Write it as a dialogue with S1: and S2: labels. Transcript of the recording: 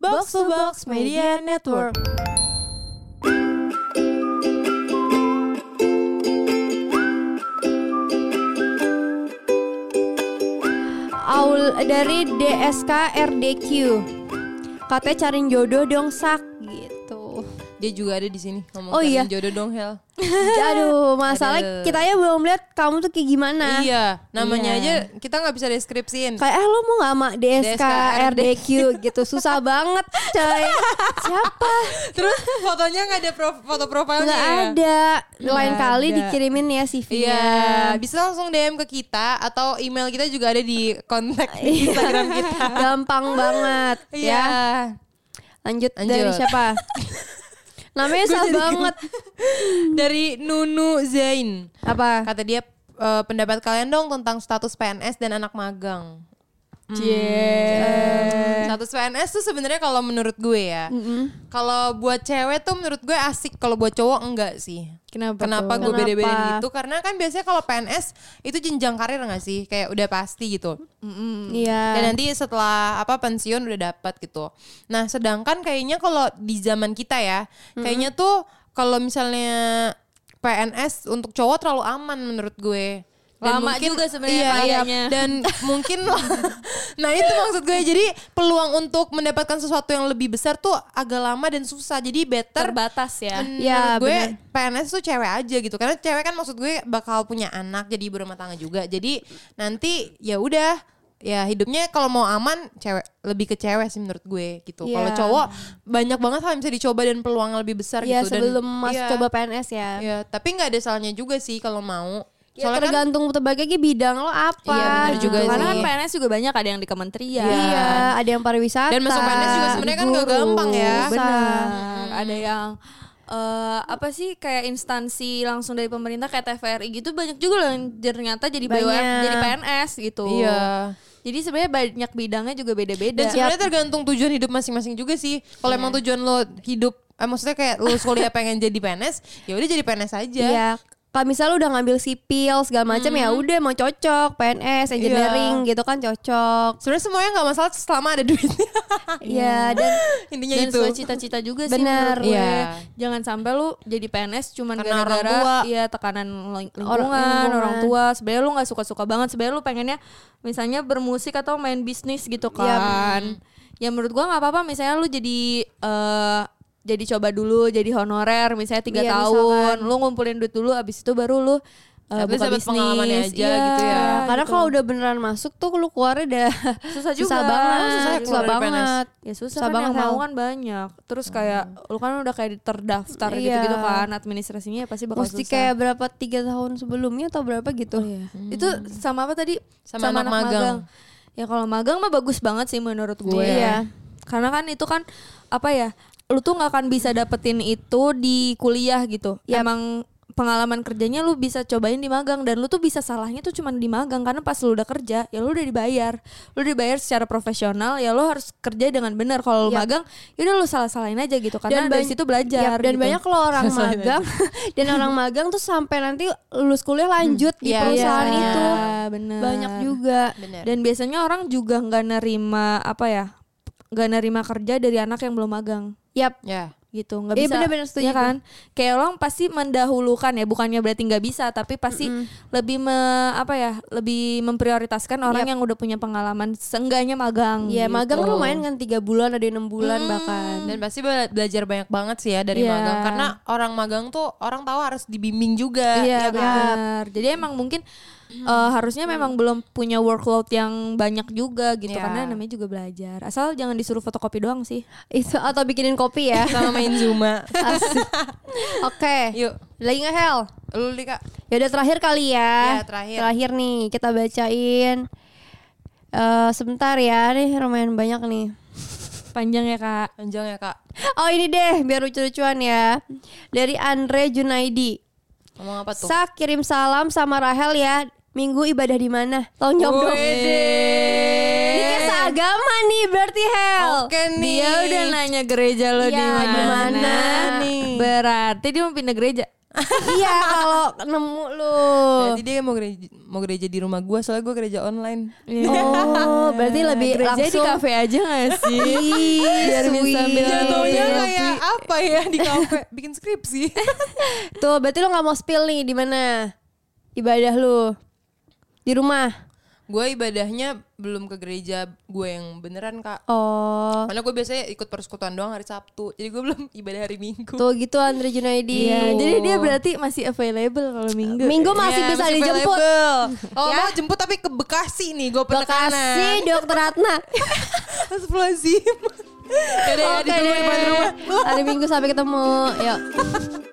S1: Box to Box Media Network. Aul dari DSK RDQ. Katanya cariin jodoh dong sak gitu.
S2: Dia juga ada di sini ngomong
S1: Oh,
S2: kalian
S1: iya.
S2: jodoh dong Hel.
S1: Aduh, masalah
S2: Aduh.
S1: kita ya belum lihat kamu tuh kayak gimana.
S2: Iya, namanya
S3: Iya.
S2: aja kita nggak bisa deskripsiin.
S1: Kayak eh lo mau gak sama DSK,
S2: DSK,
S1: RDQ gitu Susah banget coy Siapa?
S2: Terus fotonya nggak ada pro- foto profilnya.
S1: Gak
S2: ya?
S1: ada Lain
S2: Nggak
S1: kali
S2: ada.
S1: dikirimin ya CV-nya
S2: Iya, bisa langsung DM ke kita atau email kita juga ada di kontak
S1: Iya.
S2: Iya. Instagram kita.
S1: Gampang banget
S2: Iya.
S1: ya Lanjut, dari
S2: Lanjut.
S1: siapa? Namanya
S2: Gua
S1: susah
S2: jadi-
S1: banget
S2: Dari Nunu Zain.
S1: Apa?
S2: Kata dia eh, pendapat kalian dong tentang status PNS dan anak magang. Status PNS tuh sebenarnya kalau menurut gue ya. Kalau buat cewek tuh menurut gue asik, kalau buat cowok enggak sih.
S3: Kenapa?
S2: Kenapa
S3: tuh?
S2: gue
S1: Kenapa?
S2: beda-bedain gitu? Karena kan biasanya kalau PNS itu jenjang karir nggak sih? Kayak udah pasti gitu.
S1: Iya
S2: Dan nanti setelah apa pensiun udah dapat gitu. Nah, sedangkan kayaknya kalau di zaman kita ya, kayaknya tuh kalau misalnya PNS untuk cowok terlalu aman menurut gue.
S3: Lama juga sebenarnya
S2: iya, iya.
S3: kayaknya.
S2: dan mungkin nah itu maksud gue jadi peluang untuk mendapatkan sesuatu yang lebih besar tuh agak lama dan susah jadi better
S3: Terbatas ya.
S2: menurut
S1: Ya,
S2: gue
S1: benar.
S2: PNS tuh cewek aja gitu karena cewek kan maksud gue bakal punya anak jadi ibu rumah tangga juga jadi nanti ya udah ya hidupnya kalau mau aman cewek lebih ke cewek sih menurut gue gitu
S1: Iya.
S2: kalau cowok banyak banget hal yang bisa dicoba dan peluang yang lebih besar
S1: Iya
S2: gitu Dan-
S1: sebelum masuk
S2: Iya,
S1: coba PNS ya,
S2: iya. tapi nggak ada salahnya juga sih kalau mau kan
S1: Ya, tergantung terbagi bidang lo apa
S2: Iya, benar
S1: gitu.
S2: juga
S1: Karena
S3: Karena
S2: sih.
S3: kan PNS juga banyak ada yang di kementerian.
S1: Iya, ada yang pariwisata.
S2: Dan masuk PNS juga sebenarnya kan nggak
S1: guru,
S2: gampang ya.
S1: Benar.
S3: Benar. Ada yang eh, apa sih kayak instansi langsung dari pemerintah kayak TVRI gitu banyak juga loh yang ternyata jadi
S1: Banyak.
S3: BUMN, jadi PNS gitu.
S2: Iya.
S3: Jadi sebenarnya banyak bidangnya juga
S2: dan
S3: beda-beda.
S1: Iya.
S2: sebenarnya tergantung tujuan hidup masing-masing juga sih kalau emang tujuan lo hidup eh, maksudnya kayak lo kuliah pengen jadi PNS ya Hmm. udah jadi PNS aja
S1: Iya. Kalau misalnya lu udah ngambil sipil segala macam ya udah mau
S2: Iya.
S1: cocok PNS, engineering gitu kan cocok.
S2: sebenarnya semuanya nggak masalah selama ada duitnya
S1: Iya, dan
S2: intinya
S3: dan
S2: itu
S3: sesuai cita-cita juga sih
S1: Benar.
S3: menurut gue.
S2: Iya.
S3: Jangan sampai lu jadi PNS cuman
S2: Karena orang
S3: gara-gara
S2: tua.
S3: ya tekanan ling- lingkungan,
S1: Orang-
S3: orang,
S1: lingkungan.
S3: tua. Sebenarnya lu nggak suka-suka banget. Sebenarnya lu pengennya misalnya bermusik atau main bisnis
S2: Iya,
S3: gitu kan. Ya menurut gua nggak apa-apa misalnya lu jadi eh, jadi coba dulu jadi honorer misalnya tiga
S1: Iya,
S3: tahun, lu ngumpulin duit dulu abis itu baru lu eh,
S2: At least dapat
S3: buka bisnis
S2: pengalamannya aja
S3: Iya,
S2: gitu ya.
S1: karena
S3: gitu.
S1: kalau udah beneran masuk tuh lu keluarnya udah
S3: Susah juga.
S1: Susah banget,
S3: Susah
S1: susah,
S3: keluar
S2: dari PNS.
S1: banget.
S3: Ya susah,
S1: Susah
S3: kan yang
S1: banget,
S3: mau
S1: Hel.
S3: kan banyak. Terus kayak lu kan udah kayak terdaftar
S1: Iya.
S3: gitu-gitu kan administrasinya ya pasti bakal
S1: Mesti
S3: susah.
S1: kayak berapa tiga tahun sebelumnya atau berapa gitu.
S2: Iya.
S3: Itu sama apa tadi?
S2: Sama anak magang.
S3: Ya kalau magang mah bagus banget sih menurut gue.
S1: Iya.
S3: Karena kan itu kan apa ya? Lu tuh nggak akan bisa dapetin itu di kuliah gitu.
S1: Yap.
S3: Emang pengalaman kerjanya lu bisa cobain di magang dan lu tuh bisa salahnya tuh cuman di magang karena pas lu udah kerja ya lu udah dibayar lu dibayar secara profesional ya lu harus kerja dengan benar kalau lu
S1: Yap.
S3: magang ya udah lu salah salahin aja gitu karena dari
S1: ban-
S3: situ
S1: Yap,
S3: belajar
S1: dan
S3: gitu.
S1: banyak kalau orang magang dan orang magang tuh sampai nanti lulus kuliah lanjut di
S3: Hmm.
S2: Iya,
S1: perusahaan
S2: iya.
S1: itu
S3: bener.
S1: banyak juga.
S2: bener
S3: dan biasanya orang juga nggak nerima apa ya nggak nerima kerja dari anak yang belum magang
S1: Yap.
S2: ya
S3: gitu nggak
S1: Iya,
S3: bisa
S1: bener-bener setuju
S3: ya kan kayak orang pasti mendahulukan ya bukannya berarti nggak bisa tapi pasti lebih me- apa ya lebih memprioritaskan orang yang udah punya pengalaman seenggaknya magang
S1: Ya
S3: gitu. Hmm.
S1: magang lumayan kan tiga bulan ada yang enam bulan bahkan.
S2: dan pasti bela- belajar banyak banget sih ya dari
S3: Iya.
S2: magang karena orang magang tuh orang tahu harus dibimbing juga ya
S3: Iya
S2: kan?
S3: benar. Jadi emang mungkin eh, harusnya memang belum punya workload yang banyak juga gitu
S2: Iya.
S3: karena namanya juga belajar. Asal jangan disuruh fotokopi doang sih.
S1: Itu atau bikinin kopi ya.
S2: sama main zuma
S1: Asik. Oke.
S2: Yuk.
S1: Lagi nggak Hel?
S2: lu li kak
S1: Ya udah terakhir kali ya.
S3: Iya,
S2: Ya, terakhir.
S1: nih kita bacain. Eh sebentar ya, nih lumayan banyak nih.
S3: Panjang ya kak.
S2: panjang ya kak
S1: Oh ini deh, biar lucu-lucuan ya. Dari Andre Junaidi.
S2: ngomong apa tuh
S1: Sa kirim salam sama Rahel ya. Minggu ibadah di mana? Tolong jawab dong.
S2: Wede.
S1: Ini kayak seagama nih berarti Hel.
S2: oke nih
S3: Dia udah nanya gereja
S1: Iya,
S3: lo di
S1: di mana
S3: mana
S1: nih?
S3: Berarti dia mau pindah gereja.
S1: iya kalau nemu lu.
S2: Berarti dia mau gereja, mau gereja di rumah gua soalnya gua gereja online.
S1: Oh,
S2: Nah,
S1: berarti lebih
S3: Gereja di
S1: langsung.
S3: kafe aja gak sih?
S1: Biar
S3: bisa ambil-
S2: Iya, Jatuhnya
S3: Iya,
S2: kayak apa ya di kafe bikin skripsi.
S1: Tuh, berarti lu nggak mau spill nih di mana? Ibadah lu. Di rumah.
S2: gue ibadahnya belum ke gereja gue yang beneran kak.
S1: Oh.
S2: Karena gue biasanya ikut persekutuan doang hari Sabtu. Jadi gue belum ibadah hari Minggu.
S1: Tuh gitu Andre Junaidi.
S3: Iya, jadi dia berarti masih available kalau minggu.
S1: gitu. Minggu masih
S2: Iya,
S1: bisa dijemput.
S2: available. Oh,
S1: Ya.
S2: mau jemput tapi ke Bekasi nih, gue
S1: Bekasi
S2: penekanan.
S1: Dokter Ratna.
S2: Astagfirullahaladzim. Yaudah ya,
S1: Oke
S2: ditunggu di depan
S1: deh.
S2: rumah.
S1: Hari Minggu sampai ketemu. Yuk.